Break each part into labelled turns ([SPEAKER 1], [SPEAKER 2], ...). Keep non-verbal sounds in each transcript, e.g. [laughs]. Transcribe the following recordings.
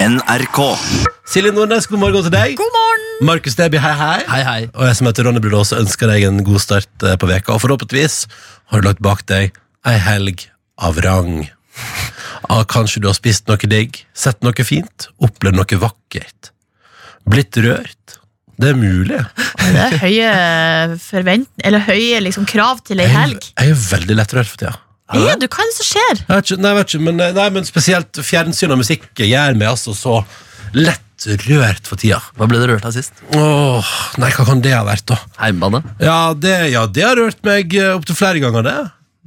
[SPEAKER 1] NRK.
[SPEAKER 2] Silje Nordnes, god morgen til deg.
[SPEAKER 3] God morgen!
[SPEAKER 2] Markus Neby, hei, hei.
[SPEAKER 4] Hei, hei.
[SPEAKER 2] Og jeg som heter Ronny Brulå, også ønsker deg en god start eh, på veka. Og forhåpentligvis har du lagt bak deg ei helg av rang. Ah, kanskje du har spist noe digg, sett noe fint, opplevd noe vakkert. Blitt rørt. Det er mulig.
[SPEAKER 3] Det er høye, forvent, eller høye liksom, krav til ei helg.
[SPEAKER 2] Jeg er veldig lettrørt for tida.
[SPEAKER 3] Er du, hva er det som skjer?
[SPEAKER 2] Jeg vet ikke, nei, jeg vet ikke, men, eh, nei, men spesielt fjernsyn og musikk gjør meg altså så lettrørt for tida.
[SPEAKER 4] Hva ble det rørt av sist?
[SPEAKER 2] Åh, nei, hva kan det ha vært, da?
[SPEAKER 4] Heimbane.
[SPEAKER 2] Ja, det, ja, det har rørt meg eh, opptil flere ganger, det.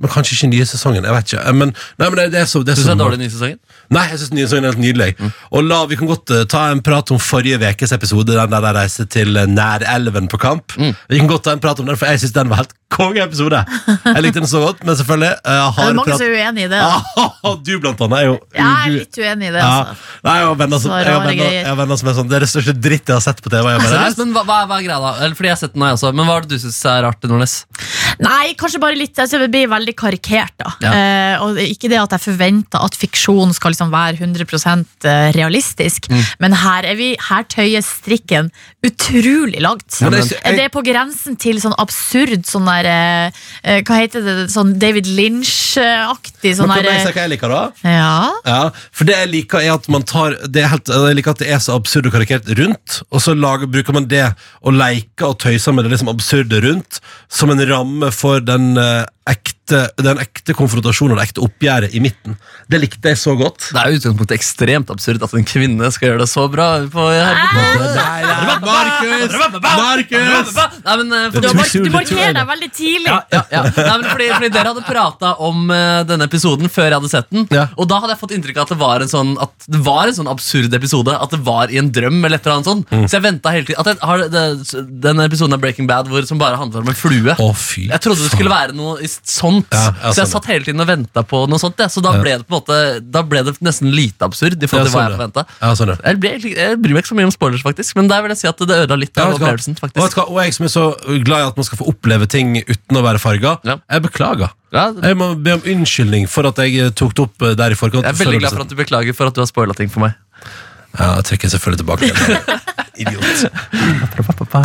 [SPEAKER 2] Men kanskje ikke nye sesongen. jeg vet ikke. Eh, Men, nei, men det, det er så, det er så
[SPEAKER 4] Syns du det Mm. er dårlig i nye sesongen?
[SPEAKER 2] Nei, jeg syns nye sesongen er helt nydelig. Og la, Vi kan godt eh, ta en prat om forrige ukes episode, den der de reiste til eh, Nærelven på kamp.
[SPEAKER 4] Mm.
[SPEAKER 2] Vi kan godt ta en prat om den, for jeg syns den var helt kongeepisode. Jeg likte den så godt, men selvfølgelig eh,
[SPEAKER 3] Det
[SPEAKER 2] har
[SPEAKER 3] er mange
[SPEAKER 2] prat...
[SPEAKER 3] som er uenig i det. da.
[SPEAKER 2] [laughs] Ah, du, blant annet, er jo
[SPEAKER 3] Jeg er
[SPEAKER 2] du-
[SPEAKER 3] litt uenig i det,
[SPEAKER 2] ja.
[SPEAKER 3] altså.
[SPEAKER 2] Nei, jeg har venner som,
[SPEAKER 3] Så rare
[SPEAKER 2] jeg har venner-
[SPEAKER 3] greier.
[SPEAKER 2] jeg har venner som er sånn Det er det største dritt jeg har sett på TV. Jeg bare,
[SPEAKER 3] liksom sånn
[SPEAKER 4] Seriøst, men hva, hva, er- hva er greia da? Eller, fordi jeg har sett den her også, men hva er det du syns er rart? Nordnes?
[SPEAKER 3] Nei, kanskje bare litt altså, Det blir veldig karikert, da.
[SPEAKER 4] Ja.
[SPEAKER 3] Eh, og det- ikke det at jeg forventer at fiksjon skal liksom være 100 realistisk,
[SPEAKER 2] Mm.
[SPEAKER 3] men her, er vi, her tøyer strikken utrolig langt.
[SPEAKER 2] Men jeg- jeg-
[SPEAKER 3] det er på grensen til sånn absurd sånn der eh, eh, Hva heter det? Sånn David Lynch-aktig sånn
[SPEAKER 2] men kan
[SPEAKER 3] der
[SPEAKER 2] jeg si
[SPEAKER 3] eh,
[SPEAKER 2] hva jeg liker, da?
[SPEAKER 3] Ja.
[SPEAKER 2] Ja, for det jeg liker er at man tar det er helt, Jeg liker at det er så absurd og karikert rundt Og så lager, bruker man det Og leker og tøyser med det liksom absurde rundt Som en ramme for den eh, ekte, den ekte konfrontasjonen Og det ekte oppgjøret i midten Det likte jeg så godt
[SPEAKER 4] Det er jo i utgangspunktet ekstremt absurd at en kvinne skal gjøre det så bra. På
[SPEAKER 2] Nei, nei, Markus! Markus!
[SPEAKER 4] Nei, men, eh,
[SPEAKER 2] Det
[SPEAKER 3] Du,
[SPEAKER 2] er absurd, det
[SPEAKER 3] mark du
[SPEAKER 4] fordi,
[SPEAKER 2] tror jeg.
[SPEAKER 3] markerer deg veldig tidlig.
[SPEAKER 4] ja, ja. Nei, men fordi, fordi Dere hadde prata om eh, denne episoden før jeg hadde sett den.
[SPEAKER 2] Ja.
[SPEAKER 4] Og da hadde jeg fått inntrykk av at det var en sånn At det var en sånn absurd episode. At det var i en drøm. eller et eller annet sånt
[SPEAKER 2] Mm.
[SPEAKER 4] Så jeg ventet hele tiden at jeg, har, det, Den episoden av Breaking Bad hvor, som bare handler om en flue.
[SPEAKER 2] Å fy
[SPEAKER 4] Jeg trodde det skulle være noe i s- sånt,
[SPEAKER 2] Ja, ja,
[SPEAKER 4] så jeg
[SPEAKER 2] sånn.
[SPEAKER 4] satt hele tiden og venta på noe sånt. ja. Så da ble det på en måte Da ble det nesten lite absurd. I forhold til hva
[SPEAKER 2] sånn
[SPEAKER 4] jeg
[SPEAKER 2] det.
[SPEAKER 4] forventet.
[SPEAKER 2] Ja, sånn det
[SPEAKER 4] Jeg, ble, egentlig- jeg bryr meg ikke så mye om spoilers, faktisk men der vil jeg si at det ødela litt
[SPEAKER 2] Ja,
[SPEAKER 4] av
[SPEAKER 2] vet du hva?
[SPEAKER 4] opplevelsen.
[SPEAKER 2] Og vet du
[SPEAKER 4] faktisk
[SPEAKER 2] hva? Og jeg som er så glad i at man skal få oppleve ting uten å være farga,
[SPEAKER 4] Ja.
[SPEAKER 2] jeg beklager.
[SPEAKER 4] Ja,
[SPEAKER 2] Jeg må be om unnskyldning for at jeg eh, tok det opp eh, der i forkant.
[SPEAKER 4] Jeg er veldig glad for at du beklager for at du har spoila ting for meg.
[SPEAKER 2] Ja, jeg trekker selvfølgelig tilbake igjen.
[SPEAKER 4] [laughs]
[SPEAKER 2] Idiot.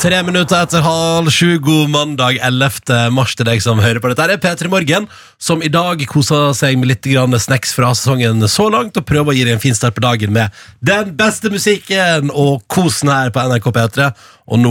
[SPEAKER 2] Tre minutter etter halv sju, god mandag 11. mars til deg som hører på. Dette her er P3 Morgen, som i dag koser seg med litt grann snacks fra sesongen så langt, og prøver å gi deg en fin start på dagen med den beste musikken og kosen her på NRK P3. Og nå,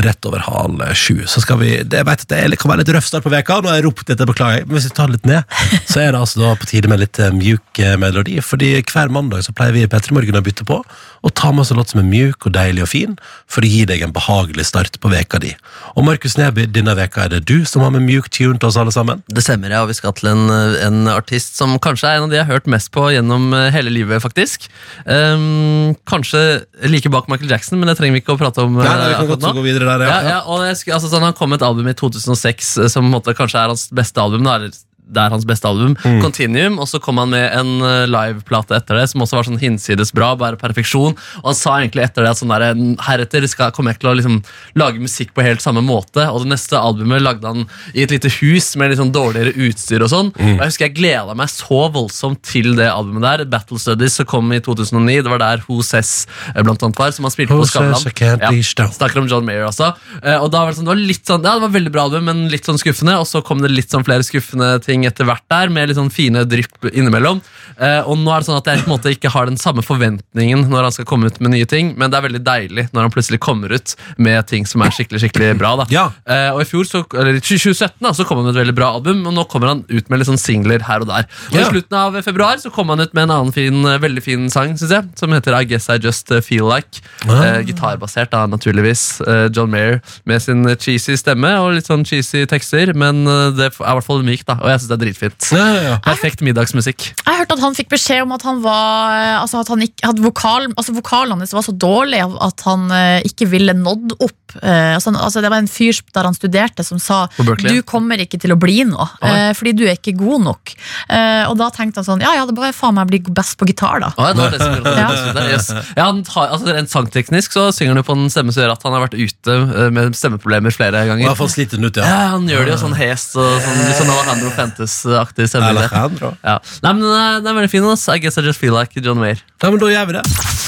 [SPEAKER 2] rett over halv sju, så skal vi det, jeg vet, at Det er- kan være litt røff start på veka, nå har jeg ropt dette, beklager jeg, men hvis vi tar det litt ned, så er det altså da på tide med litt eh, mjuk eh, melodi, fordi hver mandag så pleier vi i P3 Morgen å bytte på, og ta med oss en låt som er mjuk og deilig og fin, for å gi deg en behagelig start på veka di. Og Markus Neby, denne veka er det du som har med mjuk tune til oss alle sammen.
[SPEAKER 4] Det stemmer, ja, og vi skal til en, en artist som kanskje er en av de jeg har hørt mest på gjennom eh, hele livet, faktisk. Ehm, kanskje like bak Michael Jackson, men det trenger vi ikke å prate om.
[SPEAKER 2] Nei,
[SPEAKER 4] eh,
[SPEAKER 2] nei, vi kan
[SPEAKER 4] akkurat
[SPEAKER 2] godt
[SPEAKER 4] nå.
[SPEAKER 2] gå videre der,
[SPEAKER 4] ja,
[SPEAKER 2] ja.
[SPEAKER 4] ja, og jeg skulle, altså, sånn, Han kom med et album i 2006 eh, som på en måte kanskje er hans beste album. Da, eller det er hans beste album,
[SPEAKER 2] Mm.
[SPEAKER 4] Continuum, og så kom han med en eh, liveplate etter det som også var sånn hinsides bra, bare perfeksjon. Og han sa egentlig etter det at sånn der, "N- heretter skal, kommer jeg ikke til å liksom, lage musikk på helt samme måte. Og det neste albumet lagde han i et lite hus med litt sånn dårligere utstyr og sånn.
[SPEAKER 2] Mm.
[SPEAKER 4] Og jeg husker jeg gleda meg så voldsomt til det albumet der. Battle Studies som kom i 2009, det var der Who Says eh, blant annet var, som han spilte
[SPEAKER 2] Who
[SPEAKER 4] på
[SPEAKER 2] says I can't
[SPEAKER 4] Skavlan. Ja.
[SPEAKER 2] reach down?
[SPEAKER 4] Snakker om John Mayer også. Eh, og da var det, sånn, det var litt sånn, ja, det var veldig bra album, men litt sånn skuffende. Og så kom det litt sånn flere skuffende ting etter hvert der, med litt sånn fine drypp innimellom. Eh, og nå er det sånn at jeg på en måte ikke har den samme forventningen når han skal komme ut med nye ting, men det er veldig deilig når han plutselig kommer ut med ting som er skikkelig skikkelig bra. da.
[SPEAKER 2] Ja.
[SPEAKER 4] Eh, og i fjor, så, eller i 2017 da, så kom han med et veldig bra album, og nå kommer han ut med litt sånn singler her og der. Og
[SPEAKER 2] Ja.
[SPEAKER 4] I slutten av februar så kom han ut med en annen fin, eh, veldig fin sang, synes jeg, som heter I Guess I Just eh, Feel Like.
[SPEAKER 2] Ah.
[SPEAKER 4] Eh, gitarbasert, da, naturligvis. Eh, John Mayer med sin eh, cheesy stemme og litt sånn cheesy tekster, men eh, det er i hvert fall mykt, da, og jeg syns det er dritfint.
[SPEAKER 2] Ja, ja, ja.
[SPEAKER 4] Perfekt middagsmusikk.
[SPEAKER 3] Jeg hørte at han fikk beskjed om at han var eh, Altså at han ikke, at vokal, altså vokalen hans var så dårlig at han eh, ikke ville nådd opp. Eh, altså, han- altså Det var en fyr der han studerte som sa
[SPEAKER 4] På Berkeley?
[SPEAKER 3] du kommer ikke til å bli noe,
[SPEAKER 4] Oi.
[SPEAKER 3] eh, fordi du er ikke god nok. Eh, Og da tenkte han sånn ja ja, det bare faen meg bli best på gitar, da.
[SPEAKER 4] Å, ja, det var det [laughs] som gjorde at han ble skutt der, yes. ja, han tar, altså, Rent sangteknisk så synger han jo på en stemme som gjør at han har vært ute eh, med stemmeproblemer flere
[SPEAKER 2] Og jeg
[SPEAKER 4] ganger.
[SPEAKER 2] har fått sliten ut, ja.
[SPEAKER 4] Ja, han gjør det jo sånn hest og sånn, litt sånn Alejandro Fuentes-aktig stemning. der.
[SPEAKER 2] Alejandro.
[SPEAKER 4] Ja. Nei, men den er, den er veldig fin. ass. I guess I just feel like John Mayer.
[SPEAKER 2] Nei, men da gjør vi det.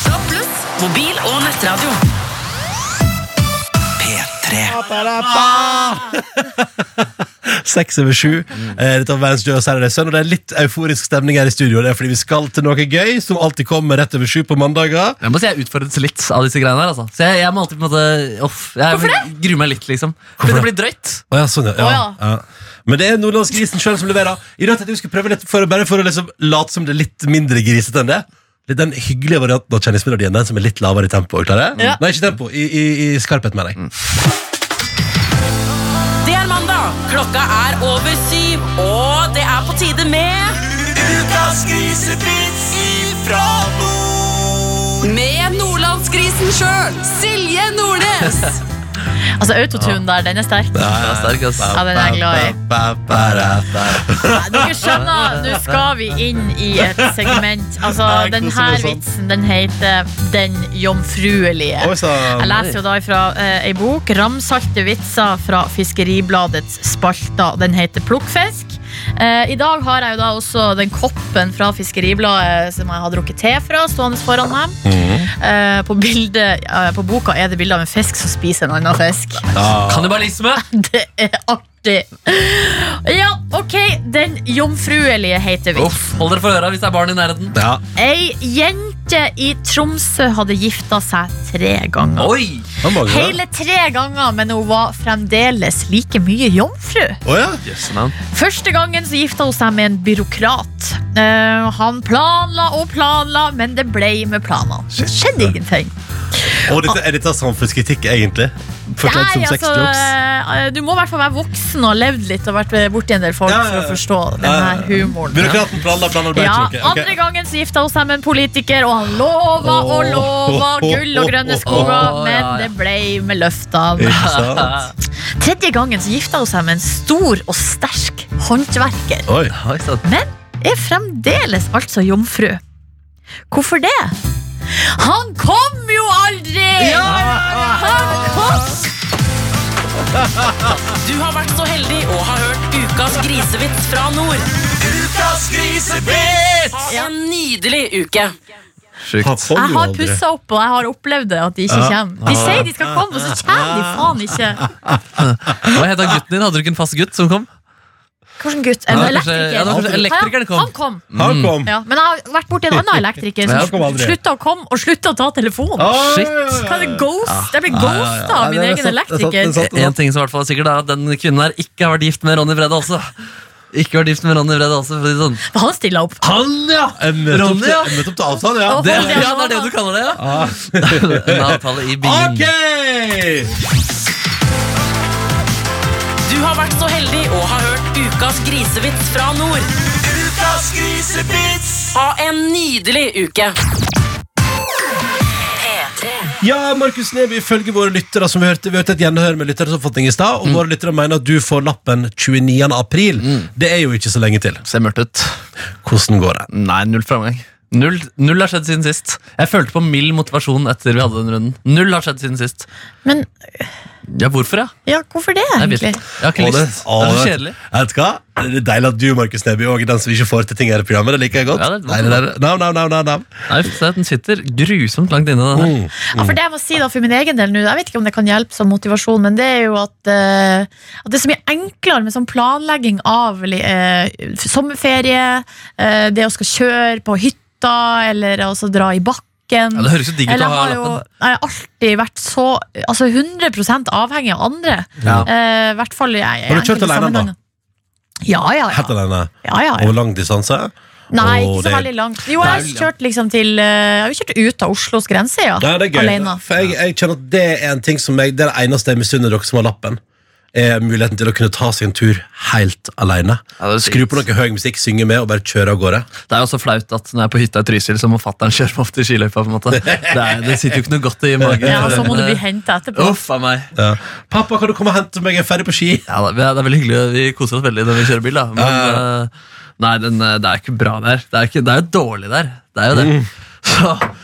[SPEAKER 1] Topp pluss, mobil og nettradio.
[SPEAKER 5] P3.
[SPEAKER 2] [laughs] Seks over sju. Eh, Dette var Vans Joe og Saturday Sun, og det er litt euforisk stemning her i studio. Det er fordi vi skal til noe gøy, som alltid kommer rett over sju på mandager.
[SPEAKER 4] Jeg må si jeg utfordres litt av disse greiene her. altså. Så jeg, jeg må alltid på en måte off. Jeg
[SPEAKER 3] Hvorfor
[SPEAKER 4] Gruer meg litt, liksom. Fordi det
[SPEAKER 2] det?
[SPEAKER 4] blir drøyt.
[SPEAKER 2] Å ja, sånn, ja. ja.
[SPEAKER 3] Å
[SPEAKER 2] ja. Men det er nordlandsgrisen sjøl som leverer. I dag tenkte jeg vi skulle prøve litt for, Bare for å liksom late som det er litt mindre grisete enn det. Litt Den hyggelige varianten av kjendismelodien, den som er litt lavere i tempo. Klarer jeg?
[SPEAKER 3] Ja.
[SPEAKER 2] Nei, ikke tempo. I, i, i skarphet, mener jeg.
[SPEAKER 1] Det er mandag, klokka er over syv, og det er på tide med
[SPEAKER 5] Ukas grisepils ifra nord.
[SPEAKER 1] Med nordlandsgrisen sjøl, Silje Nordnes.
[SPEAKER 5] [laughs]
[SPEAKER 3] Altså, autotune der, den er sterk.
[SPEAKER 4] Jeg er sterk, ass.
[SPEAKER 3] Ja, den er jeg glad i.
[SPEAKER 2] i.
[SPEAKER 3] Nei, Dere skjønner, nå skal vi inn i et segment. Altså,
[SPEAKER 2] Nei,
[SPEAKER 3] den
[SPEAKER 2] koser
[SPEAKER 3] her
[SPEAKER 2] meg sånn.
[SPEAKER 3] vitsen, den heter Den jomfruelige.
[SPEAKER 2] Oi sann.
[SPEAKER 3] Jeg leser jo da fra eh, ei bok, ramsalte vitser fra Fiskeribladets spalter. Den heter Plukkfisk. Eh, I dag har jeg jo da også den koppen fra Fiskeribladet som jeg har drukket te fra, stående foran meg. Eh, på, bildet, eh, på boka er det bilde av en fisk som spiser en annen fisk. [laughs]
[SPEAKER 2] Ja.
[SPEAKER 4] Kannibalisme!
[SPEAKER 3] Det er artig. Ja, ok, den jomfruelige heter vi.
[SPEAKER 4] Uff, Hold dere for øra hvis det er barn i nærheten.
[SPEAKER 2] Ja.
[SPEAKER 3] Ei jente i Tromsø hadde gifta seg tre ganger.
[SPEAKER 4] Oi!
[SPEAKER 2] det var mange, da.
[SPEAKER 3] Hele tre ganger, men hun var fremdeles like mye jomfru.
[SPEAKER 2] Å ja.
[SPEAKER 4] Jøsse navn.
[SPEAKER 3] Første gangen så gifta hun seg med en byråkrat. Eh, han planla og planla, men det ble med planene. Det skjedde ingenting.
[SPEAKER 2] Og dette, er dette samfunnskritikk, egentlig? Forklart som
[SPEAKER 3] Nei, altså,
[SPEAKER 2] sexjokes?
[SPEAKER 3] eh, du må i hvert fall være voksen og ha levd litt og vært eh, borti en del folk
[SPEAKER 2] Ja, ja, ja.
[SPEAKER 3] for å forstå den
[SPEAKER 2] Ja,
[SPEAKER 3] her
[SPEAKER 2] ja.
[SPEAKER 3] humoren.
[SPEAKER 2] Byråkraten planla, planla, ble
[SPEAKER 3] øh, Ja,
[SPEAKER 2] ikke noe.
[SPEAKER 3] Andre
[SPEAKER 2] Ok.
[SPEAKER 3] gangen så gifta hun seg med en politiker, og han lova og lova gull og grønne skoger,
[SPEAKER 4] Åh,
[SPEAKER 3] men
[SPEAKER 4] ja, ja.
[SPEAKER 3] det ble med løftene.
[SPEAKER 2] Ikke sant?
[SPEAKER 3] Tredje gangen så gifta hun seg med en stor og sterk håndverker,
[SPEAKER 2] Oi.
[SPEAKER 4] Oi, sant.
[SPEAKER 3] men er fremdeles altså jomfru. Hvorfor det? Han kom jo aldri! Han kom!
[SPEAKER 1] Du har vært så heldig å ha hørt ukas grisevits fra nord.
[SPEAKER 5] Ukas grisepils!
[SPEAKER 1] Ha en nydelig uke.
[SPEAKER 2] Han
[SPEAKER 4] Sjukt.
[SPEAKER 2] kom
[SPEAKER 3] Jeg
[SPEAKER 2] jo
[SPEAKER 3] har
[SPEAKER 2] aldri.
[SPEAKER 3] pussa opp, og jeg har opplevd det at de ikke
[SPEAKER 2] Ja.
[SPEAKER 3] kommer. De sier de skal komme, og så kommer de faen ikke.
[SPEAKER 4] Hva het han gutten din? Hadde du ikke en fast gutt som kom?
[SPEAKER 3] Hvilken gutt? En
[SPEAKER 4] Ja, kanskje-
[SPEAKER 3] elektriker?
[SPEAKER 4] ja, det var kanskje elektrikeren kom.
[SPEAKER 3] Han kom.
[SPEAKER 2] Han kom.
[SPEAKER 3] Ja, men jeg har vært borti en annen elektriker
[SPEAKER 4] Ja, han
[SPEAKER 2] kom
[SPEAKER 3] som
[SPEAKER 2] aldri.
[SPEAKER 3] slutta å komme og slutta å ta telefonen.
[SPEAKER 2] Oi,
[SPEAKER 4] Shit.
[SPEAKER 2] oi, oi.
[SPEAKER 3] Kan det ghost? Jeg blir
[SPEAKER 2] ja,
[SPEAKER 3] ghosta
[SPEAKER 2] ja.
[SPEAKER 3] av min
[SPEAKER 2] Det er sant, det er sant,
[SPEAKER 3] egen
[SPEAKER 2] det er
[SPEAKER 3] elektriker.
[SPEAKER 2] sant.
[SPEAKER 4] En ting som i hvert fall er sikkert er at den kvinnen her ikke har vært gift med Ronny Brede altså. Ikke vært gift med Ronny Brede altså. for å si det sånn.
[SPEAKER 3] Han stiller opp.
[SPEAKER 4] Han, ja!
[SPEAKER 2] Jeg møtte opp,
[SPEAKER 4] Ronny, ja.
[SPEAKER 2] jeg møtte opp til avtalen, ja.
[SPEAKER 3] Å,
[SPEAKER 4] Det,
[SPEAKER 3] Ronny,
[SPEAKER 4] ja,
[SPEAKER 3] ja.
[SPEAKER 4] det er det du kaller det, ja.
[SPEAKER 2] Ah.
[SPEAKER 4] [laughs] En avtale i byen.
[SPEAKER 2] Ok!
[SPEAKER 1] Du har vært så heldig å ha hørt ukas grisevits fra nord.
[SPEAKER 5] Ukas grisepils!
[SPEAKER 1] Ha en nydelig uke.
[SPEAKER 2] Ja, Markus Neby, ifølge våre lyttere som vi hørte, vi hørte et gjenhør med lyttere som fått ting i stad,
[SPEAKER 4] Mm.
[SPEAKER 2] og våre lyttere mener at du får lappen 29. april. Det er jo ikke så lenge til.
[SPEAKER 4] Ser mørkt ut.
[SPEAKER 2] Hvordan går det?
[SPEAKER 4] Nei, null framgang. Null, null har skjedd siden sist. Jeg følte på mild motivasjon etter vi hadde den runden. Null har skjedd siden sist.
[SPEAKER 3] Men
[SPEAKER 4] Ja, hvorfor, ja?
[SPEAKER 3] ja, hvorfor det,
[SPEAKER 4] Jeg vet
[SPEAKER 3] egentlig?
[SPEAKER 4] ikke. Jeg har ikke
[SPEAKER 2] Å, det-
[SPEAKER 4] lyst. Det er
[SPEAKER 2] å,
[SPEAKER 4] så
[SPEAKER 2] det-
[SPEAKER 4] kjedelig.
[SPEAKER 2] Vet du hva? Det er deilig at du, Markus Neby, også er den som ikke får til ting her i programmet. Det liker jeg godt.
[SPEAKER 4] Ja, det er
[SPEAKER 2] Deilig, deilig. Nam, nam, nam, nam, nam.
[SPEAKER 4] Nei, vi får se at Den sitter grusomt langt inne. Den her.
[SPEAKER 2] Mm.
[SPEAKER 3] Ja, for det jeg må si da for min egen del nå, jeg vet ikke om det kan hjelpe som motivasjon, men det er jo at, eh, at det er så mye enklere med sånn planlegging av eh, sommerferie, eh, det å skal kjøre på hytta, eller også dra i bakken.
[SPEAKER 4] Ja, det høres jo digg ut
[SPEAKER 3] Eller
[SPEAKER 4] å
[SPEAKER 3] jeg
[SPEAKER 4] ha
[SPEAKER 3] har jo
[SPEAKER 4] lappen.
[SPEAKER 3] jeg har alltid vært så Altså 100 avhengig av andre.
[SPEAKER 4] Ja.
[SPEAKER 3] Eh, I hvert fall jeg,
[SPEAKER 2] Har du kjørt alene,
[SPEAKER 3] enkelte
[SPEAKER 2] da?
[SPEAKER 3] sammenhenger. Ja, ja,
[SPEAKER 2] Helt
[SPEAKER 3] ja.
[SPEAKER 2] alene.
[SPEAKER 3] ja, ja,
[SPEAKER 2] Over
[SPEAKER 3] ja.
[SPEAKER 2] lang distanse.
[SPEAKER 3] Nei,
[SPEAKER 2] Åh,
[SPEAKER 3] ikke så
[SPEAKER 2] det-
[SPEAKER 3] veldig langt. Jo, jeg har
[SPEAKER 4] Nei, ja.
[SPEAKER 3] kjørt liksom til eh, Jeg har jo kjørt ut av Oslos grense, ja.
[SPEAKER 2] Ja, det er gøy.
[SPEAKER 3] Alene.
[SPEAKER 2] For jeg, jeg kjenner at det er en ting som jeg, det er det eneste jeg misunner dere som har lappen. Er muligheten til å kunne ta seg en tur helt alene.
[SPEAKER 4] Ja, det er
[SPEAKER 2] Skru
[SPEAKER 4] fint.
[SPEAKER 2] på noe høy musikk, synge med og bare kjøre av gårde.
[SPEAKER 4] Det er jo også flaut at når jeg er på hytta i Trysil, så må fatter'n kjøre meg opp til skiløypa. på en
[SPEAKER 2] [laughs]
[SPEAKER 4] måte. Det, er, det sitter jo ikke noe godt i magen. Eh,
[SPEAKER 3] Ja, og så må du bli henta etterpå.
[SPEAKER 4] Uff a meg.
[SPEAKER 2] Ja. Pappa, kan du komme og hente meg? Jeg er ferdig på ski.
[SPEAKER 4] Ja, da, det er veldig hyggelig. Vi koser oss veldig når vi kjører bil. da. Men
[SPEAKER 2] Ja,
[SPEAKER 4] eh, nei, den, eh, det er ikke bra der. Det er, ikke, det er jo dårlig der. Det er jo det.
[SPEAKER 2] Mm.
[SPEAKER 4] [laughs] Så, ja.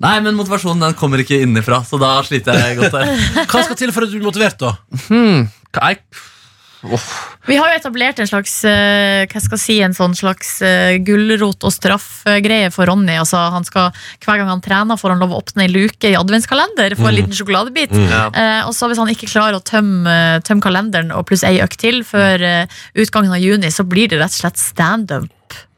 [SPEAKER 4] Nei, men motivasjonen den kommer ikke
[SPEAKER 2] [laughs]
[SPEAKER 4] innenfra, så da sliter jeg godt der.
[SPEAKER 2] Hva skal til for at du blir motivert, da?
[SPEAKER 4] Nei, Uff.
[SPEAKER 3] Vi har jo etablert en slags eh, hva skal jeg si, en sånn slags eh, gulrot- og straffgreie for Ronny. Altså, han skal, hver gang han trener, får han lov å åpne ei luke i adventskalender.
[SPEAKER 4] Mm.
[SPEAKER 3] Få en liten sjokoladebit.
[SPEAKER 4] Ja.
[SPEAKER 3] Eh, og så Hvis han ikke klarer å tømme, eh, tømme kalenderen og pluss ei økt til før eh, utgangen av juni, så blir det rett og slett standup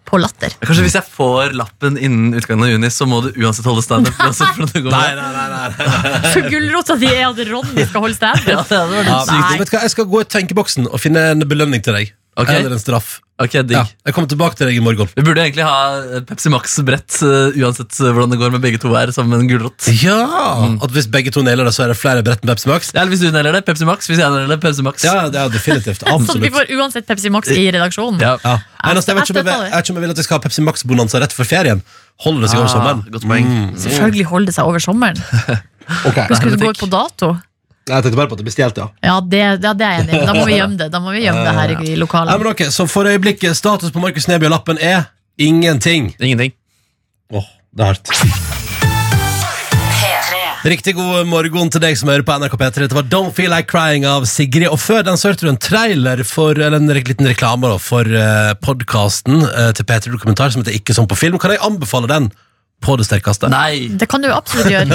[SPEAKER 3] på latter.
[SPEAKER 4] Kanskje hvis jeg får lappen innen utgangen av juni, så må du uansett
[SPEAKER 2] [laughs]
[SPEAKER 4] holde standup. uansett hvordan det går.
[SPEAKER 2] Nei, nei, nei, nei, nei.
[SPEAKER 3] Så gulrota di er at Ronny skal holde
[SPEAKER 4] Ja,
[SPEAKER 3] standup?
[SPEAKER 4] det hadde vært
[SPEAKER 2] Ja,
[SPEAKER 4] litt
[SPEAKER 2] men
[SPEAKER 4] sykt.
[SPEAKER 2] vet du hva, jeg skal gå i tenkeboksen og finne en belønning til deg.
[SPEAKER 4] Ok.
[SPEAKER 2] Eller en straff.
[SPEAKER 4] Ok, digg.
[SPEAKER 2] Ja, jeg kommer tilbake til deg i morgen.
[SPEAKER 4] Vi burde egentlig ha eh, Pepsi Max-brett eh, uansett eh, hvordan det går med begge to her, som en gulrot.
[SPEAKER 2] Ja! At hvis begge to nailer det, så er det flere brett med Pepsi Max?
[SPEAKER 4] Ja, eller hvis du nailer det, Pepsi Max. Hvis jeg nailer det, Pepsi Max.
[SPEAKER 2] Ja, det er [laughs] definitivt.
[SPEAKER 3] Sånn at vi
[SPEAKER 2] Absolutt.
[SPEAKER 3] får uansett Pepsi Max i redaksjonen.
[SPEAKER 4] Ja.
[SPEAKER 2] Ja. Eneste, jeg, vet ikke om jeg, vil- jeg vet ikke om jeg vil at vi skal ha Pepsi Max-bonanza rett før ferien. Holder det seg over sommeren? Mm.
[SPEAKER 4] Ah, godt poeng.
[SPEAKER 3] Selvfølgelig holder det seg over sommeren.
[SPEAKER 2] Ok.
[SPEAKER 3] Hva skulle du gå ut på dato?
[SPEAKER 2] Jeg tenkte bare på at det blir stjålet, ja.
[SPEAKER 3] Ja, det, ja, det er jeg enig i. Da må vi gjemme det Da må vi gjemme det her i- i
[SPEAKER 2] Nei,
[SPEAKER 3] lokalet.
[SPEAKER 2] men ok, Så for øyeblikket, status på Markus Neby og lappen er ingenting.
[SPEAKER 4] Ingenting.
[SPEAKER 2] Åh, det er hardt. Riktig god morgen til deg som hører på NRK P3. Dette var Don't Feel Like Crying av Sigrid. Og før den så hørte du en trailer for, eller en re- liten reklame da, for uh, podkasten til P3 Dokumentar som heter Ikke som på film. Kan jeg anbefale den på det sterkeste?
[SPEAKER 4] Nei!
[SPEAKER 3] Det kan du absolutt gjøre.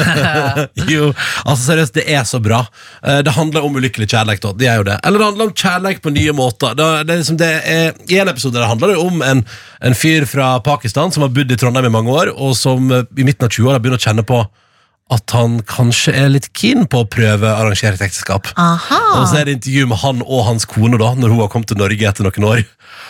[SPEAKER 2] [laughs] Jo, altså seriøst, det er så bra. Eh, Det handler om ulykkelig kjærlighet, da. Det er jo det. Eller det handler om kjærlighet på nye måter. Det er, det er liksom det er, I en episode der handler det om en, en fyr fra Pakistan som har bodd i Trondheim i mange år, og som eh, i midten av 20-åra begynner å kjenne på at han kanskje er litt keen på å prøve arrangert ekteskap.
[SPEAKER 4] Ah.
[SPEAKER 2] Og så
[SPEAKER 3] Aha.
[SPEAKER 2] er det intervju med han og hans kone da Når hun har kommet til Norge etter noen år.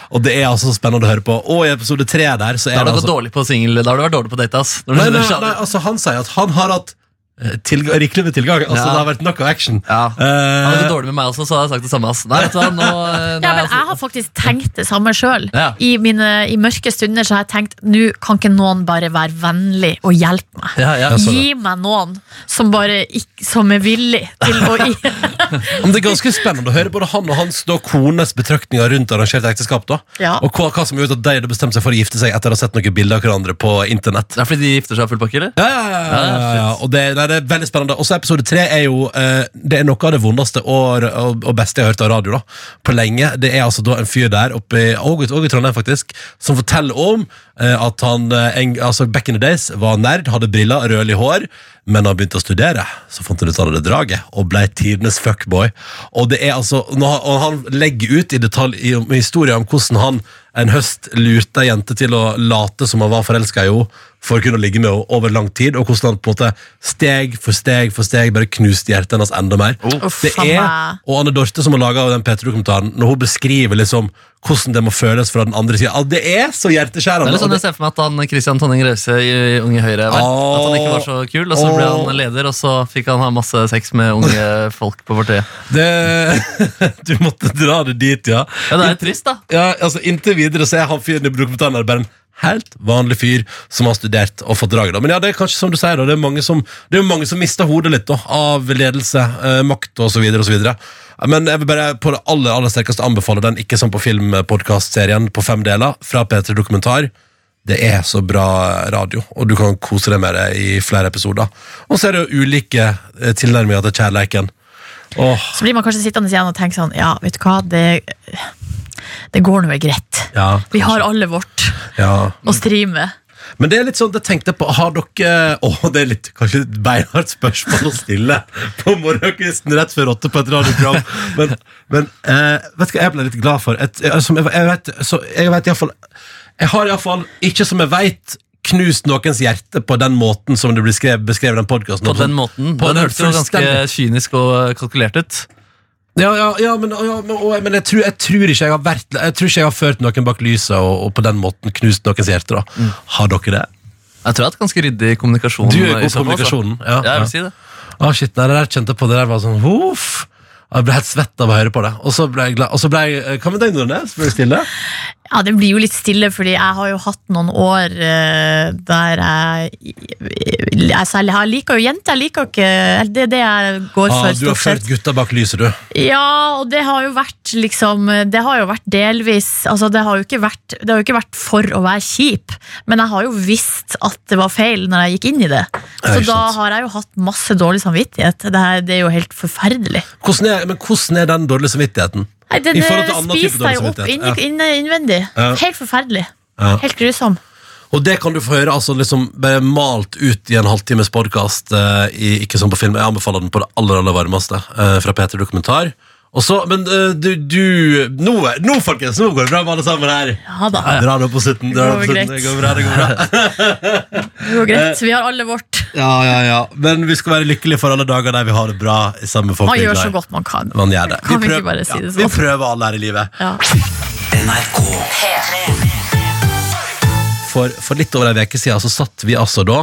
[SPEAKER 2] Og det er altså så spennende å høre på. Og i episode tre der så er
[SPEAKER 4] Da har du
[SPEAKER 2] det
[SPEAKER 4] gått
[SPEAKER 2] altså
[SPEAKER 4] dårlig på single. Da har du vært dårlig på date, ass. Når du
[SPEAKER 2] Nei, nei,
[SPEAKER 4] skjønner-
[SPEAKER 2] nei, altså Han sier at han har hatt eh, tilg- rikelig med tilgang. Altså
[SPEAKER 4] Ja.
[SPEAKER 2] Det har vært nok av action.
[SPEAKER 4] Ja.
[SPEAKER 2] Eh,
[SPEAKER 4] Hadde det gått dårlig med meg også, så hadde jeg sagt det samme. ass. Nei, vet du hva, nå... eh,
[SPEAKER 3] Ja,
[SPEAKER 4] nei,
[SPEAKER 3] men
[SPEAKER 4] altså.
[SPEAKER 3] jeg har faktisk tenkt det samme sjøl.
[SPEAKER 4] Ja.
[SPEAKER 3] I mine i mørke stunder så har jeg tenkt nå kan ikke noen bare være vennlig og hjelpe meg.
[SPEAKER 4] ja, ja.
[SPEAKER 2] sånn,
[SPEAKER 3] Gi meg noen som bare ikk- som er villig til å
[SPEAKER 2] Men det er ganske spennende å høre både han og hans da, kones betraktninger rundt arrangert ekteskap. da
[SPEAKER 3] Ja.
[SPEAKER 2] Og hva, hva som gjorde at de hadde bestemt seg for å gifte seg etter å ha sett noen bilder av hverandre på internett.
[SPEAKER 4] Det er fordi de gifter seg av full pakke, eller?
[SPEAKER 2] Ja, ja, ja, ja, ja, ja. Og det, nei, det er veldig spennende. Også episode tre er jo eh, Det er noe av det vondeste og, og, og beste jeg har hørt av radio da på lenge. Det er altså da en fyr der, oppe i, og, i- og i Trondheim faktisk, som forteller om eh, at han eh, en, altså back in the days var nerd, hadde briller, rødlig hår, men da han begynte å studere, så fant han ut av det draget og ble tidenes fuckboy. Og det er altså når han, og han legger ut i detalj i, om historien om hvordan han en høst lurte ei jente til å late som han var forelska i henne for å kunne ligge med henne over lang tid, og hvordan han på en måte steg for steg for steg bare knuste hjertet hennes enda mer.
[SPEAKER 3] Uff,
[SPEAKER 2] det
[SPEAKER 3] faen
[SPEAKER 2] er,
[SPEAKER 3] meg.
[SPEAKER 2] og Anne Dorte som har laga den P3-dokumentaren, når hun beskriver liksom hvordan det må føles fra den andre sida ah, Det er så
[SPEAKER 4] Det
[SPEAKER 2] hjerteskjærende!
[SPEAKER 4] er litt sånn
[SPEAKER 2] og
[SPEAKER 4] jeg ser for meg at han Christian Tonning Rause i Unge Høyre var.
[SPEAKER 2] Åh.
[SPEAKER 4] At han ikke var så kul, og så ble
[SPEAKER 2] Åh.
[SPEAKER 4] han leder, og så fikk han ha masse sex med unge
[SPEAKER 2] [laughs]
[SPEAKER 4] folk på partiet.
[SPEAKER 2] det, det, [laughs] du måtte dra det dit, ja.
[SPEAKER 4] Ja, det er litt trist, da.
[SPEAKER 2] ja, altså Inntil videre så er han fyren i dokumentaren her bare en helt vanlig fyr som har studert og fått draget. da. Men ja, det er kanskje som du sier, da, det er mange som, det er jo mange som mister hodet litt da, av ledelse, eh, makt osv. videre Men jeg vil bare på det aller aller sterkeste anbefale den Ikke som på film-podkast-serien på fem deler fra P3 Dokumentar. Det er så bra radio, og du kan kose deg med det i flere episoder. Og så er det jo ulike eh, tilnærminger til kjærleiken. Åh,
[SPEAKER 3] Så blir man kanskje sittende igjen og tenke sånn Ja, vet du hva, det, det går nå greit.
[SPEAKER 2] ja,
[SPEAKER 3] Vi har alle vårt
[SPEAKER 2] ja.
[SPEAKER 3] å stri med.
[SPEAKER 2] Men det er litt sånn, det tenkte jeg på Har dere, [laughs] åh det er litt Kanskje et beinhardt spørsmål å stille [laughs] På morgenkvisten rett før åtte på et radioprogram Men, men eh, vet du hva jeg ble litt glad for et, jeg, som jeg, jeg vet, så, jeg vet i hvert fall Jeg har i hvert fall, ikke som jeg vet Knust noens hjerte på den måten Som det blir skrevet, beskrevet i den podcasten
[SPEAKER 4] På den måten.
[SPEAKER 2] På
[SPEAKER 4] den
[SPEAKER 2] den
[SPEAKER 4] hørtes jo ganske
[SPEAKER 2] fullstendig-
[SPEAKER 4] kynisk og kalkulert ut.
[SPEAKER 2] Ja, ja, ja, men, ja men, og, men jeg, tror, jeg tror ikke jeg har vært Jeg tror ikke jeg har ført noen bak lyset Og, og på den måten knust noens hjerte da
[SPEAKER 4] Mm.
[SPEAKER 2] Har dere det?
[SPEAKER 4] Jeg tror jeg har hatt ganske ryddig kommunikasjon.
[SPEAKER 2] Du er
[SPEAKER 4] i
[SPEAKER 2] god på
[SPEAKER 4] så fall, altså.
[SPEAKER 2] kommunikasjonen ja,
[SPEAKER 4] Ja, jeg
[SPEAKER 2] ja.
[SPEAKER 4] vil si det.
[SPEAKER 2] Å, shit, nei, det der kjente jeg på. Det der var sånn Uff. Jeg ble helt svett av å høre på det. Og så ble jeg glad. Og så ble jeg eh, Hva med deg, Nordnes? Ble du stille?
[SPEAKER 3] Ja, det blir jo litt stille, fordi jeg har jo hatt noen år eh, der jeg Altså, jeg liker jo jenter, jeg liker jo ikke eller Det er det jeg
[SPEAKER 2] Ah,
[SPEAKER 3] går for,
[SPEAKER 2] du har
[SPEAKER 3] stort
[SPEAKER 2] ført
[SPEAKER 3] sett.
[SPEAKER 2] gutta bak lyset, du.
[SPEAKER 3] Ja, og det har jo vært liksom Det har jo vært delvis Altså, det har jo ikke vært, det har jo ikke vært for å være kjip, men jeg har jo visst at det var feil når jeg gikk inn i det.
[SPEAKER 2] Ja,
[SPEAKER 3] Så
[SPEAKER 2] ikke
[SPEAKER 3] da
[SPEAKER 2] sant.
[SPEAKER 3] har jeg jo hatt masse dårlig samvittighet. Det, her, det er jo helt forferdelig.
[SPEAKER 2] Hvordan er, men hvordan er den dårlige samvittigheten?
[SPEAKER 3] Nei, den
[SPEAKER 2] I forhold til
[SPEAKER 3] eh,
[SPEAKER 2] annen type
[SPEAKER 3] spiste
[SPEAKER 2] dårlig
[SPEAKER 3] jeg jo opp
[SPEAKER 2] samvittighet,
[SPEAKER 3] inni, inne- innvendig.
[SPEAKER 2] Ja.
[SPEAKER 3] Helt forferdelig.
[SPEAKER 2] Ja.
[SPEAKER 3] Helt grusom.
[SPEAKER 2] Og det kan du få høre altså liksom bare malt ut i en halvtimes podkast. ikke som på film. Jeg anbefaler den på det aller aller varmeste. eh, fra Peter Dokumentar. Og så, Men eh, du, du nå, er- nå, folkens, nå går det bra med alle sammen her!
[SPEAKER 3] Ja da.
[SPEAKER 2] Dra det opp på slutten. Dra det, opp på
[SPEAKER 3] Det går
[SPEAKER 2] slutten. det
[SPEAKER 3] greit.
[SPEAKER 2] går bra. det går bra
[SPEAKER 3] Det går greit. Vi har alle vårt.
[SPEAKER 2] Ja, ja, ja Men vi skal være lykkelige for alle dager der vi har det bra sammen. med folk
[SPEAKER 3] Man
[SPEAKER 2] vi er
[SPEAKER 3] gjør
[SPEAKER 2] glad i.
[SPEAKER 3] så godt man kan.
[SPEAKER 2] Man gjør det.
[SPEAKER 3] Kan vi
[SPEAKER 2] prøver-
[SPEAKER 3] ikke bare si det
[SPEAKER 2] Ja,
[SPEAKER 3] sånn?
[SPEAKER 2] vi prøver alle her i livet.
[SPEAKER 3] Ja.
[SPEAKER 5] NRK
[SPEAKER 2] For, for litt over ei uke siden så satt vi altså da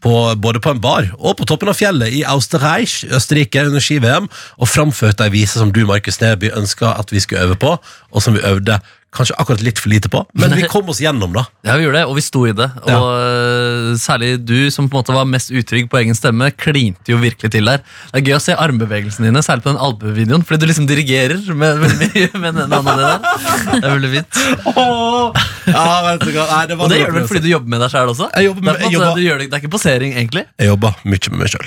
[SPEAKER 2] på, både på en bar og på toppen av fjellet i Austerreich, Østerrike, under ski-VM, og framførte ei vise som du, Markus Neby, ønska at vi skulle øve på, og som vi øvde kanskje akkurat litt for lite på, men
[SPEAKER 3] [laughs]
[SPEAKER 2] vi kom oss gjennom, da.
[SPEAKER 4] Ja, vi gjorde det, og vi sto i det. Og øh, særlig du, som på en måte var mest utrygg på egen stemme, klinte jo virkelig til der. Det er gøy å se armbevegelsene dine, særlig på den albuevideoen, fordi du liksom dirigerer med, veldig mye med den hånda di der. Det er veldig fint.
[SPEAKER 2] Ja, vet du hva. Nei, det
[SPEAKER 4] Og det gjør du vel fordi du jobber med deg sjøl også?
[SPEAKER 2] Jeg jobber med-
[SPEAKER 4] det, er på en
[SPEAKER 2] jeg
[SPEAKER 4] måte-
[SPEAKER 2] jobber-
[SPEAKER 4] du gjør det, det er ikke posering, egentlig.
[SPEAKER 2] Jeg jobba mye med meg sjøl.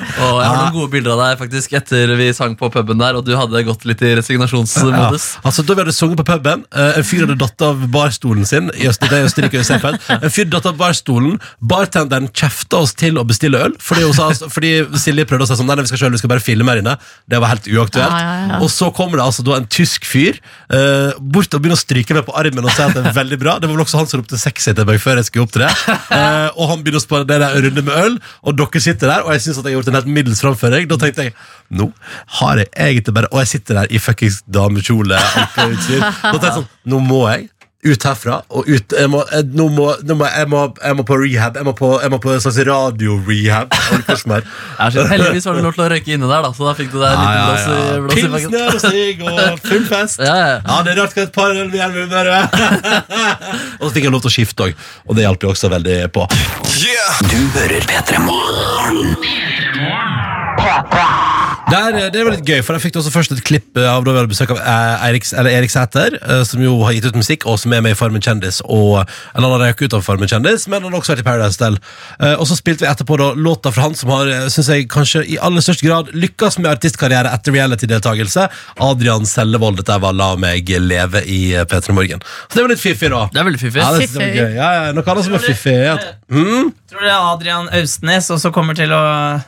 [SPEAKER 4] Og jeg har noen gode bilder av deg faktisk etter vi sang på puben der, og du hadde gått litt i
[SPEAKER 2] Ja.
[SPEAKER 4] resignasjonsmodus.
[SPEAKER 2] Altså, da vi hadde sunget på puben, eh, en fyr hadde datt av barstolen sin i Øster- det er Østerrike og Seefeld. En fyr datt av barstolen, bartenderen kjefta oss til å bestille øl, fordi, hun sa, fordi Silje prøvde å si sånn, nei, nei, vi skal selv, vi skal bare filme her inne. Det var helt uaktuelt.
[SPEAKER 3] Ja, ja, ja.
[SPEAKER 2] Og så kommer det altså da en tysk fyr eh, bort og begynner å stryke meg på armen og si at det er veldig bra. Det var vel også han som ropte sexy til meg før jeg skulle opp til det. Eh, og han begynner å spørre det der runde med øl, og dere sitter der, og jeg syns at jeg har gjort en helt middels framføring. Da tenkte jeg nå har jeg egentlig bare Og jeg sitter der i fuckings damekjole. ankerutstyr. Da tenkte jeg sånn, nå må jeg. Ut herfra og ut Jeg må, jeg, nå må, nå må, jeg, må, jeg må på rehab. Jeg må på, jeg må på en slags radio-rehab. Eller hva som er.
[SPEAKER 4] Jeg er så- Heldigvis var det lov til å røyke inne der, da, så da fikk du deg en liten blås i blås i fanget.
[SPEAKER 2] Pilsner og [laughs] sigg og full fest.
[SPEAKER 4] Ja, ja.
[SPEAKER 2] Ja, det er rart hva et par øl vil gjøre med humøret. [laughs] Og så fikk jeg lov til å skifte òg, og det hjalp jo også veldig på.
[SPEAKER 5] Du hører P3 Morgen
[SPEAKER 2] Der, eh, det var litt gøy, for jeg fikk også først et klipp eh, av da vi hadde besøk av eh, Erik, eller Erik Sæter, eh, som jo har gitt ut musikk, og som er med i Farmen kjendis. Og, eller han har røket ut av Farmen kjendis, men han har også vært i Paradise Del. Og så spilte vi etterpå da låta fra han som har, eh, synes jeg, kanskje i aller størst grad lykkes med artistkarriere etter reality-deltakelse. Adrian Sellevold, dette var La meg leve i eh, P3 Morgen. Så det var litt fiffig, da.
[SPEAKER 4] Det er veldig fiffig.
[SPEAKER 2] Ja, det synes jeg var gøy. Ja, ja, noe annet som er fiffig. er at-
[SPEAKER 6] Tror dere Adrian Austnes også kommer til å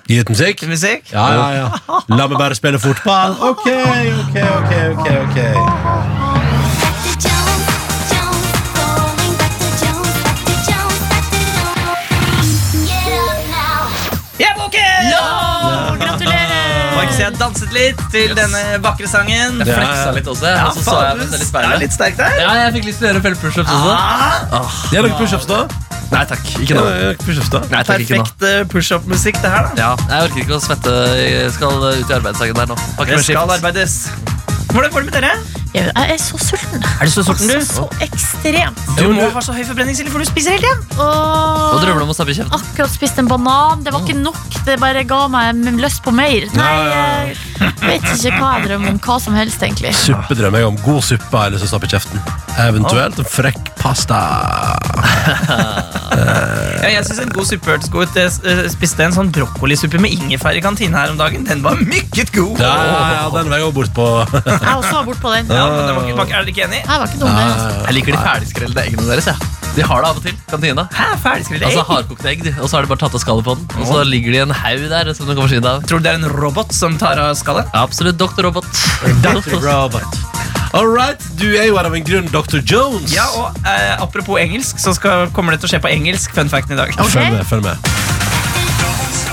[SPEAKER 2] Gi ut musikk.
[SPEAKER 6] til musikk?
[SPEAKER 2] Ja, ja, ja. La meg bare spille fotball. Ok, ok, ok, ok. ok
[SPEAKER 6] Jeg er våken!
[SPEAKER 3] Gratulerer!
[SPEAKER 6] Markus, jeg har danset litt til denne vakre sangen.
[SPEAKER 4] Jeg fleksa litt også, og så så jeg meg selv i
[SPEAKER 6] Det er
[SPEAKER 4] speilet.
[SPEAKER 6] litt sterkt der.
[SPEAKER 4] Ja, jeg fikk lyst til å gjøre feltpushups også.
[SPEAKER 6] Ah,
[SPEAKER 2] Jeg har lagd pushups, da.
[SPEAKER 4] Nei takk, ikke nå.
[SPEAKER 2] Jeg har lagt push-ups da.
[SPEAKER 4] Nei, takk, ikke nå.
[SPEAKER 6] perfekt eh, push-up-musikk, det her. da
[SPEAKER 4] Ja, jeg orker ikke å svette. Jeg skal eh, ut i arbeidsdagen der nå. Har ikke
[SPEAKER 6] Det
[SPEAKER 4] mer skift.
[SPEAKER 6] skal arbeides. Hvordan går det med dere?
[SPEAKER 3] Jeg jeg er så sulten.
[SPEAKER 6] Er du så
[SPEAKER 3] Altså, så ekstremt.
[SPEAKER 6] Du må ha så høy forbrenningsilde, for du spiser hele tiden.
[SPEAKER 4] Nå
[SPEAKER 3] Åh,
[SPEAKER 4] drømmer du om å stappe i kjeften.
[SPEAKER 3] akkurat spist en banan. Det var ikke nok. Det bare ga meg m- lyst på mer. Nei, jeg vet ikke hva jeg drømmer om. Hva som helst, egentlig.
[SPEAKER 2] Suppe drømmer jeg om. God suppe har jeg lyst til å stappe i kjeften. Eventuelt en frekk pasta.
[SPEAKER 6] Ja, jeg synes en god suppe hørtes god ut. Jeg eh, spiste en sånn brokkolisuppe med ingefær i kantina her om dagen. Den var meget god.
[SPEAKER 2] Ja, ja, ja, den var jeg også bort på.
[SPEAKER 3] Jeg også var bortpå den.
[SPEAKER 6] Ja, men den var ikke, bak- er dere ikke enig?
[SPEAKER 3] Jeg var ikke dum, det. altså.
[SPEAKER 4] Jeg liker de ferdigskrellede eggene deres. Ja. De har det av og til. Kantina.
[SPEAKER 6] Hæ, ferdigskrellet
[SPEAKER 4] Altså
[SPEAKER 6] egg?
[SPEAKER 4] Hardkokte egg, de. og så har de bare tatt av skallet på den. Og så ligger de i en haug der som du kan forsyne deg av.
[SPEAKER 6] Tror du det er en robot som tar av skallet?
[SPEAKER 4] Absolutt Dr. Robot.
[SPEAKER 2] Dr.
[SPEAKER 4] [laughs]
[SPEAKER 2] Robert. All right, du er jo her av en grunn, Dr. Jones.
[SPEAKER 6] Ja, og eh, apropos engelsk, så skal, kommer det til å skje på engelsk. Fun facten i dag.
[SPEAKER 2] Følg med, følg med.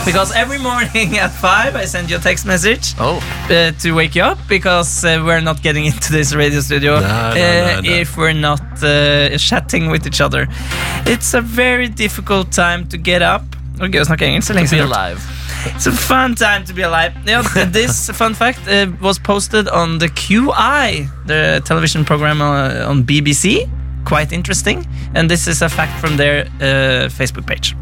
[SPEAKER 6] Because every morning at 5 I send you a text message
[SPEAKER 4] Oh.
[SPEAKER 6] uh, to wake you up because uh, we're not getting [laughs] into this radio studio
[SPEAKER 2] No, no, no,
[SPEAKER 6] uh,
[SPEAKER 2] no.
[SPEAKER 6] if we're not uh, chatting with each other. It's a very difficult time to get up. Oh, Det var gøy å snakke engelsk. så lenge
[SPEAKER 4] Be
[SPEAKER 6] siden jeg har gjort
[SPEAKER 4] alive.
[SPEAKER 6] det. It's a fun time to be alive.
[SPEAKER 2] [laughs]
[SPEAKER 6] Yeah, th- this fun fact uh, was posted on the QI, the television program uh, on BBC. Quite interesting. And this is a fact from their uh, Facebook page.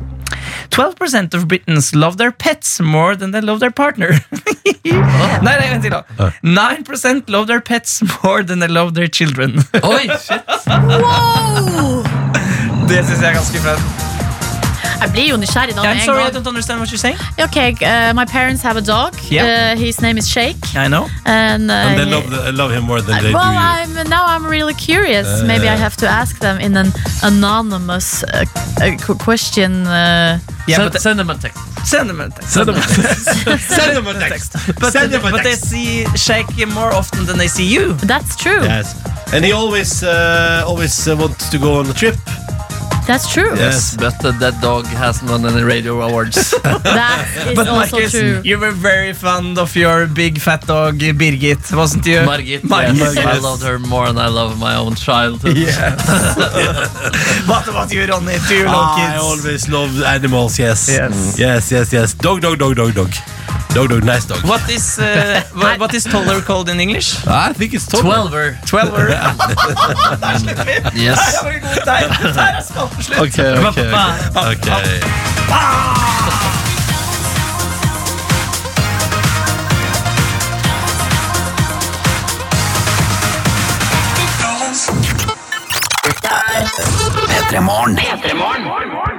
[SPEAKER 6] 12% of Britons love their pets more than they love their partner. [laughs] nei, nei, vent til da. 9% love their pets more than they love their children. [laughs]
[SPEAKER 4] Oi, shit.
[SPEAKER 6] det synes jeg er ganske fett.
[SPEAKER 3] Jeg blir jo nysgjerrig da
[SPEAKER 6] I'm
[SPEAKER 3] med
[SPEAKER 6] sorry, I
[SPEAKER 3] en gang.
[SPEAKER 6] don't understand what you're saying.
[SPEAKER 3] Okay, uh, my parents have a dog.
[SPEAKER 6] Yeah.
[SPEAKER 3] Uh, his name is Shake.
[SPEAKER 6] I know.
[SPEAKER 3] And, uh,
[SPEAKER 2] And they
[SPEAKER 3] he-
[SPEAKER 2] love, the- love him more than they
[SPEAKER 3] well,
[SPEAKER 2] do you. Uh,
[SPEAKER 3] I'm now I'm really curious. Maybe I have to ask them in an anonymous uh, uh, qu- question. Uh,
[SPEAKER 6] Yeah,
[SPEAKER 4] send,
[SPEAKER 6] but uh,
[SPEAKER 4] send dem en tekst.
[SPEAKER 6] send them a text.
[SPEAKER 2] Send them a text. Send them a text.
[SPEAKER 6] But,
[SPEAKER 2] Send them a
[SPEAKER 6] but they
[SPEAKER 2] text.
[SPEAKER 6] see Shake more often than they see you.
[SPEAKER 3] that's true.
[SPEAKER 2] Yes. And he always uh, always uh, wants to go on a trip.
[SPEAKER 3] That's true.
[SPEAKER 2] Yes.
[SPEAKER 4] But uh, that dog hasn't won any radio awards.
[SPEAKER 3] That
[SPEAKER 2] [laughs]
[SPEAKER 3] is
[SPEAKER 6] But
[SPEAKER 3] also
[SPEAKER 6] Marcus,
[SPEAKER 3] true.
[SPEAKER 6] you were very fond of your big fat dog Birgit, wasn't you?
[SPEAKER 4] Margit,
[SPEAKER 6] Margit.
[SPEAKER 4] yes, I
[SPEAKER 2] Margit.
[SPEAKER 4] loved her more than I love my own child.
[SPEAKER 6] What about you, Ronny? Do you love
[SPEAKER 2] Ah, I
[SPEAKER 6] kids?
[SPEAKER 2] always love animals. Yes.
[SPEAKER 6] Yes.
[SPEAKER 2] Mm. Yes. Yes. Yes. Dog. Dog. Dog. Dog. Dog. Dog. Dog. Nice dog.
[SPEAKER 6] What is uh, what, what is toddler called in English?
[SPEAKER 2] I think it's toddler. [laughs]
[SPEAKER 4] Twelver.
[SPEAKER 6] [laughs] Twelver. Der slipper vi. [laughs]
[SPEAKER 4] Yes.
[SPEAKER 6] Der har vi god tegn. Der er spalten slutt.
[SPEAKER 2] Okay. Okay. Okay. okay.
[SPEAKER 5] Petremorne.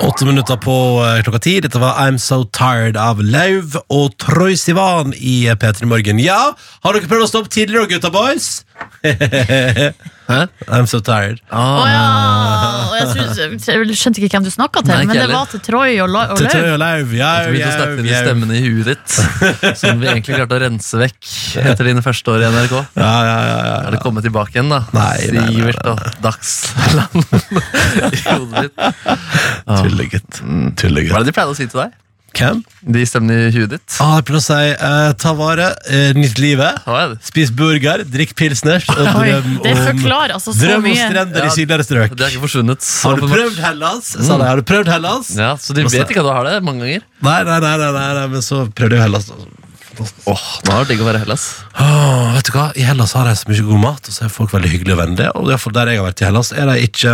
[SPEAKER 2] Åtte minutter på eh, klokka ti. Dette var I'm So Tired av Lauv og Troy Sivan i eh, P3 Morgen. Ja, har dere prøvd å stoppe tidligere, gutta boys? [laughs] I'm So Tired.
[SPEAKER 3] Å
[SPEAKER 4] Ah,
[SPEAKER 3] ja!
[SPEAKER 2] Ah.
[SPEAKER 3] Og jeg, synes, jeg skjønte ikke hvem du snakka til,
[SPEAKER 4] Nei, ikke
[SPEAKER 3] men det
[SPEAKER 4] heller.
[SPEAKER 3] var til Troy og, La- og
[SPEAKER 2] Til Troy
[SPEAKER 3] Løv.
[SPEAKER 2] og Lauv. Jau,
[SPEAKER 4] Du begynte å
[SPEAKER 2] jau,
[SPEAKER 4] snakke til de
[SPEAKER 2] jau.
[SPEAKER 4] stemmene i huet ditt som vi egentlig klarte å rense vekk etter dine første år i NRK.
[SPEAKER 2] Ja, ja, ja, ja.
[SPEAKER 4] Har det kommet tilbake igjen, da?
[SPEAKER 2] Nei, nei, nei, nei.
[SPEAKER 4] Sivert og Dagsland [laughs] i hodet ditt.
[SPEAKER 2] Tullegutt.
[SPEAKER 4] Hva
[SPEAKER 2] Tullegutt.
[SPEAKER 4] er det de pleide å si til deg?
[SPEAKER 2] Hvem?
[SPEAKER 4] De stemmene i huet ditt?
[SPEAKER 2] Ah, jeg prøvde å si eh, ta vare, uh, nytt livet,
[SPEAKER 4] Hva er det?
[SPEAKER 2] spis burger, drikk pilsners og
[SPEAKER 3] Oi,
[SPEAKER 2] drøm
[SPEAKER 3] det
[SPEAKER 2] om,
[SPEAKER 3] forklarer altså så
[SPEAKER 2] drøm om
[SPEAKER 3] mye.
[SPEAKER 2] strender i
[SPEAKER 4] Ja,
[SPEAKER 2] sydligere strøk.
[SPEAKER 4] Det har ikke forsvunnet.
[SPEAKER 2] Har du
[SPEAKER 4] åpenbart.
[SPEAKER 2] prøvd Hellas? Sa de, har du prøvd Hellas?
[SPEAKER 4] Ja, Så de vet ikke at du har det mange ganger?
[SPEAKER 2] Nei, nei, nei, nei, nei, nei, men så prøvde jeg Hellas. altså.
[SPEAKER 4] Åh, Nå er det digg å være i Hellas.
[SPEAKER 2] Åh, Ah, vet du hva? I Hellas har de så mye god mat, og så er folk veldig hyggelige og vennlige. Og i hvert fall der jeg har vært i Hellas, er det ikke,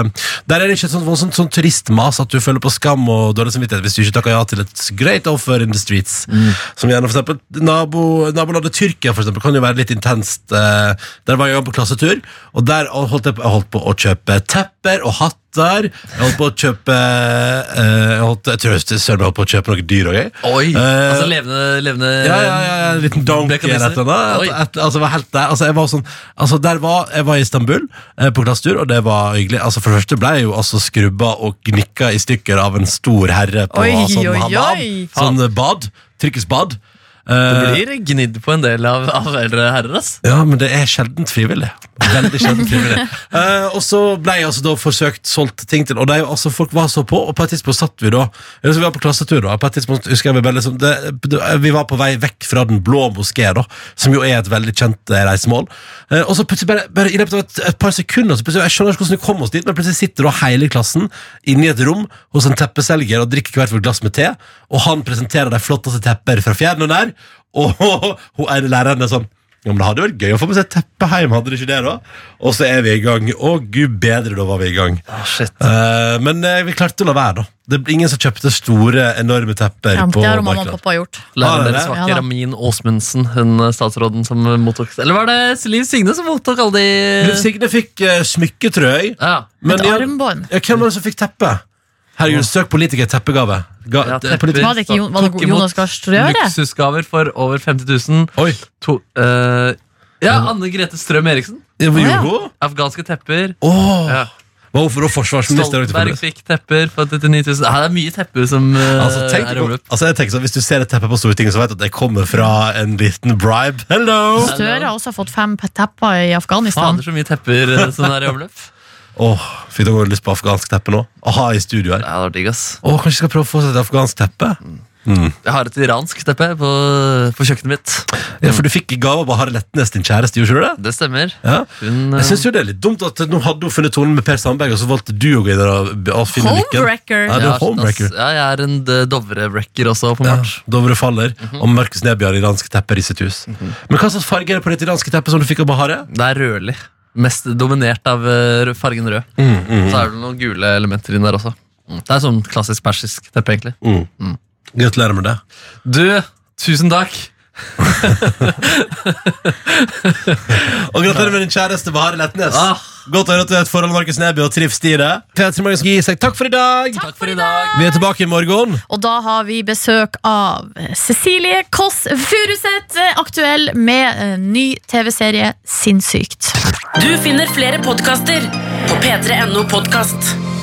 [SPEAKER 2] der er det ikke et sånt voldsomt sånn turistmas at du føler på skam og dårlig samvittighet hvis du ikke takker ja til et great offer in the streets.
[SPEAKER 4] Mm.
[SPEAKER 2] Som gjerne for eksempel nabo, nabolaget Tyrkia for eksempel, kan jo være litt intenst. eh, Der var jeg på klassetur, og der holdt jeg på, jeg holdt på å kjøpe tepper og hatter. Jeg holdt på å kjøpe eh, jeg, holdt, jeg tror jeg søren meg holdt på å kjøpe noe dyr òg, jeg.
[SPEAKER 4] Oi,
[SPEAKER 2] Eh,
[SPEAKER 4] altså levende, levende
[SPEAKER 2] ja, ja, ja, ja, en liten donkey
[SPEAKER 4] Blekk og
[SPEAKER 2] eller et eller
[SPEAKER 4] Oi.
[SPEAKER 2] annet. Et- et- Altså, var helt der. Altså, jeg var sånn, altså, der var, jeg var i Istanbul eh, på klassetur, og det var hyggelig. Altså, for det første ble jeg jo altså skrubba og gnikka i stykker av en stor herre på
[SPEAKER 3] Oi,
[SPEAKER 2] sånn
[SPEAKER 3] oi,
[SPEAKER 2] hammam.
[SPEAKER 3] oi.
[SPEAKER 2] Sånn eh, bad. Tyrkisk bad.
[SPEAKER 4] Det
[SPEAKER 2] Eh,
[SPEAKER 4] blir gnidd på en del av, av eldre herrer, ass.
[SPEAKER 2] ja, men det er sjeldent frivillig. Veldig sjeldent frivillig. Eh, og så ble jeg altså da forsøkt solgt ting til, og det er jo altså folk var så på, og på et tidspunkt satt vi da jeg husker Vi var på klassetur, da. og På et tidspunkt husker jeg Vi bare liksom det, det, Vi var på vei vekk fra Den blå moské, da, som jo er et veldig kjent eh, reisemål. Eh, og så plutselig bare, bare i løpet av et, et par sekunder så plutselig, Jeg skjønner ikke hvordan vi kom oss dit, men plutselig sitter da hele klassen inne i et rom hos en teppeselger og drikker hvert vårt glass med te, og han presenterer de flotteste tepper fra fjern og nær, og [laughs] hun ene læreren er sånn ja, men Det hadde vært gøy å få med seg et teppe hjem, hadde det ikke det? da? Og så er vi i gang. Å, gud bedre, da var vi i gang. Eh, men eh, vi klarte å la være, da. Det er ingen som kjøpte store, enorme tepper.
[SPEAKER 3] Ja,
[SPEAKER 2] på
[SPEAKER 3] det har jo mamma og
[SPEAKER 2] markedet.
[SPEAKER 3] pappa gjort.
[SPEAKER 2] Har
[SPEAKER 4] Læreren
[SPEAKER 2] dere
[SPEAKER 4] deres var
[SPEAKER 3] det?
[SPEAKER 4] ikke
[SPEAKER 3] Ja da.
[SPEAKER 4] Ramin Åsmundsen, hun eh, statsråden som mottok Eller var det Liv Signe som mottok alle de
[SPEAKER 2] Liv Signe fikk eh, smykke, tror jeg.
[SPEAKER 4] Ja.
[SPEAKER 2] Men
[SPEAKER 3] Et
[SPEAKER 2] ja,
[SPEAKER 3] armbånd.
[SPEAKER 2] ja, hvem var det som fikk teppe? Herregud, søk politiker teppegave. Ga,
[SPEAKER 4] Ja,
[SPEAKER 2] eh,
[SPEAKER 4] tepper.
[SPEAKER 2] politi-
[SPEAKER 3] Var det ikke Jo- var det
[SPEAKER 4] Tok imot
[SPEAKER 3] Jonas Gahr Støre?
[SPEAKER 4] Luksusgaver for over 50 000.
[SPEAKER 2] Oi,
[SPEAKER 4] To, eh, ja, Anne Grete Strøm Eriksen.
[SPEAKER 2] det var
[SPEAKER 3] Å, ja.
[SPEAKER 2] Jogo?
[SPEAKER 4] Afghanske tepper.
[SPEAKER 2] Åh,
[SPEAKER 4] Ja.
[SPEAKER 2] Var hun for å forsvarsminister?
[SPEAKER 4] Stoltenberg fikk tepper for 39 000. Ja, det er mye tepper som eh,
[SPEAKER 2] Altså, tenk
[SPEAKER 4] er i
[SPEAKER 2] på,
[SPEAKER 4] omløp.
[SPEAKER 2] altså, jeg tenker sånn, Hvis du ser et teppe på Stortinget, så vet du at det kommer fra en liten bribe. Hello!
[SPEAKER 3] Støre har også fått fem tepper i Afghanistan.
[SPEAKER 4] Fader, så mye tepper eh, som er
[SPEAKER 2] [laughs]
[SPEAKER 4] i omløp.
[SPEAKER 2] Åh, Fikk dere lyst på afghansk teppe nå? Å ha i studio her.
[SPEAKER 4] Ja, det var digg, ass.
[SPEAKER 2] Åh, Kanskje jeg skal prøve å få seg et afghansk teppe?
[SPEAKER 4] Jeg har et iransk teppe på, på kjøkkenet mitt.
[SPEAKER 2] Ja, For du fikk i gave av Harald Letnes, din kjæreste, gjorde du ikke det?
[SPEAKER 4] Det stemmer.
[SPEAKER 2] Ja.
[SPEAKER 4] Hun, eh,
[SPEAKER 2] Jeg synes jo det er litt dumt at nå hadde hun funnet tonen med Per Sandberg, og så valgte du å gå inn og og finne lykken.
[SPEAKER 3] Homewrecker.
[SPEAKER 2] Ja, du
[SPEAKER 4] Ja,
[SPEAKER 2] er homewrecker.
[SPEAKER 4] ass. Ja, jeg er en eh, Dovre-wrecker også,
[SPEAKER 2] Ja,
[SPEAKER 4] åpenbart.
[SPEAKER 2] Dovre faller, og Markus Neby har iranske tepper i sitt hus. Men hva slags farge er det på ditt iranske teppe som du fikk av Bahare?
[SPEAKER 4] Det er rødlig. Mest dominert av eh, rød- fargen rød. Så er det noen gule elementer inn der også. Mm. Det er sånn klassisk persisk teppe, egentlig.
[SPEAKER 2] Gratulerer med det.
[SPEAKER 4] Du, tusen takk
[SPEAKER 2] Og gratulerer med din kjæreste Bahare Letnes.
[SPEAKER 4] Ah.
[SPEAKER 2] Godt å høre at du er et forhold med Markus Neby og trives i det. Petra Morgen skal gi seg. Takk for i dag.
[SPEAKER 4] Takk for i dag.
[SPEAKER 2] Vi er tilbake i morgen.
[SPEAKER 3] Og da har vi besøk av Cecilie Kåss Furuseth, aktuell med eh, ny TV-serie Sinnssykt.
[SPEAKER 1] Du finner flere podkaster på p3.no podkast.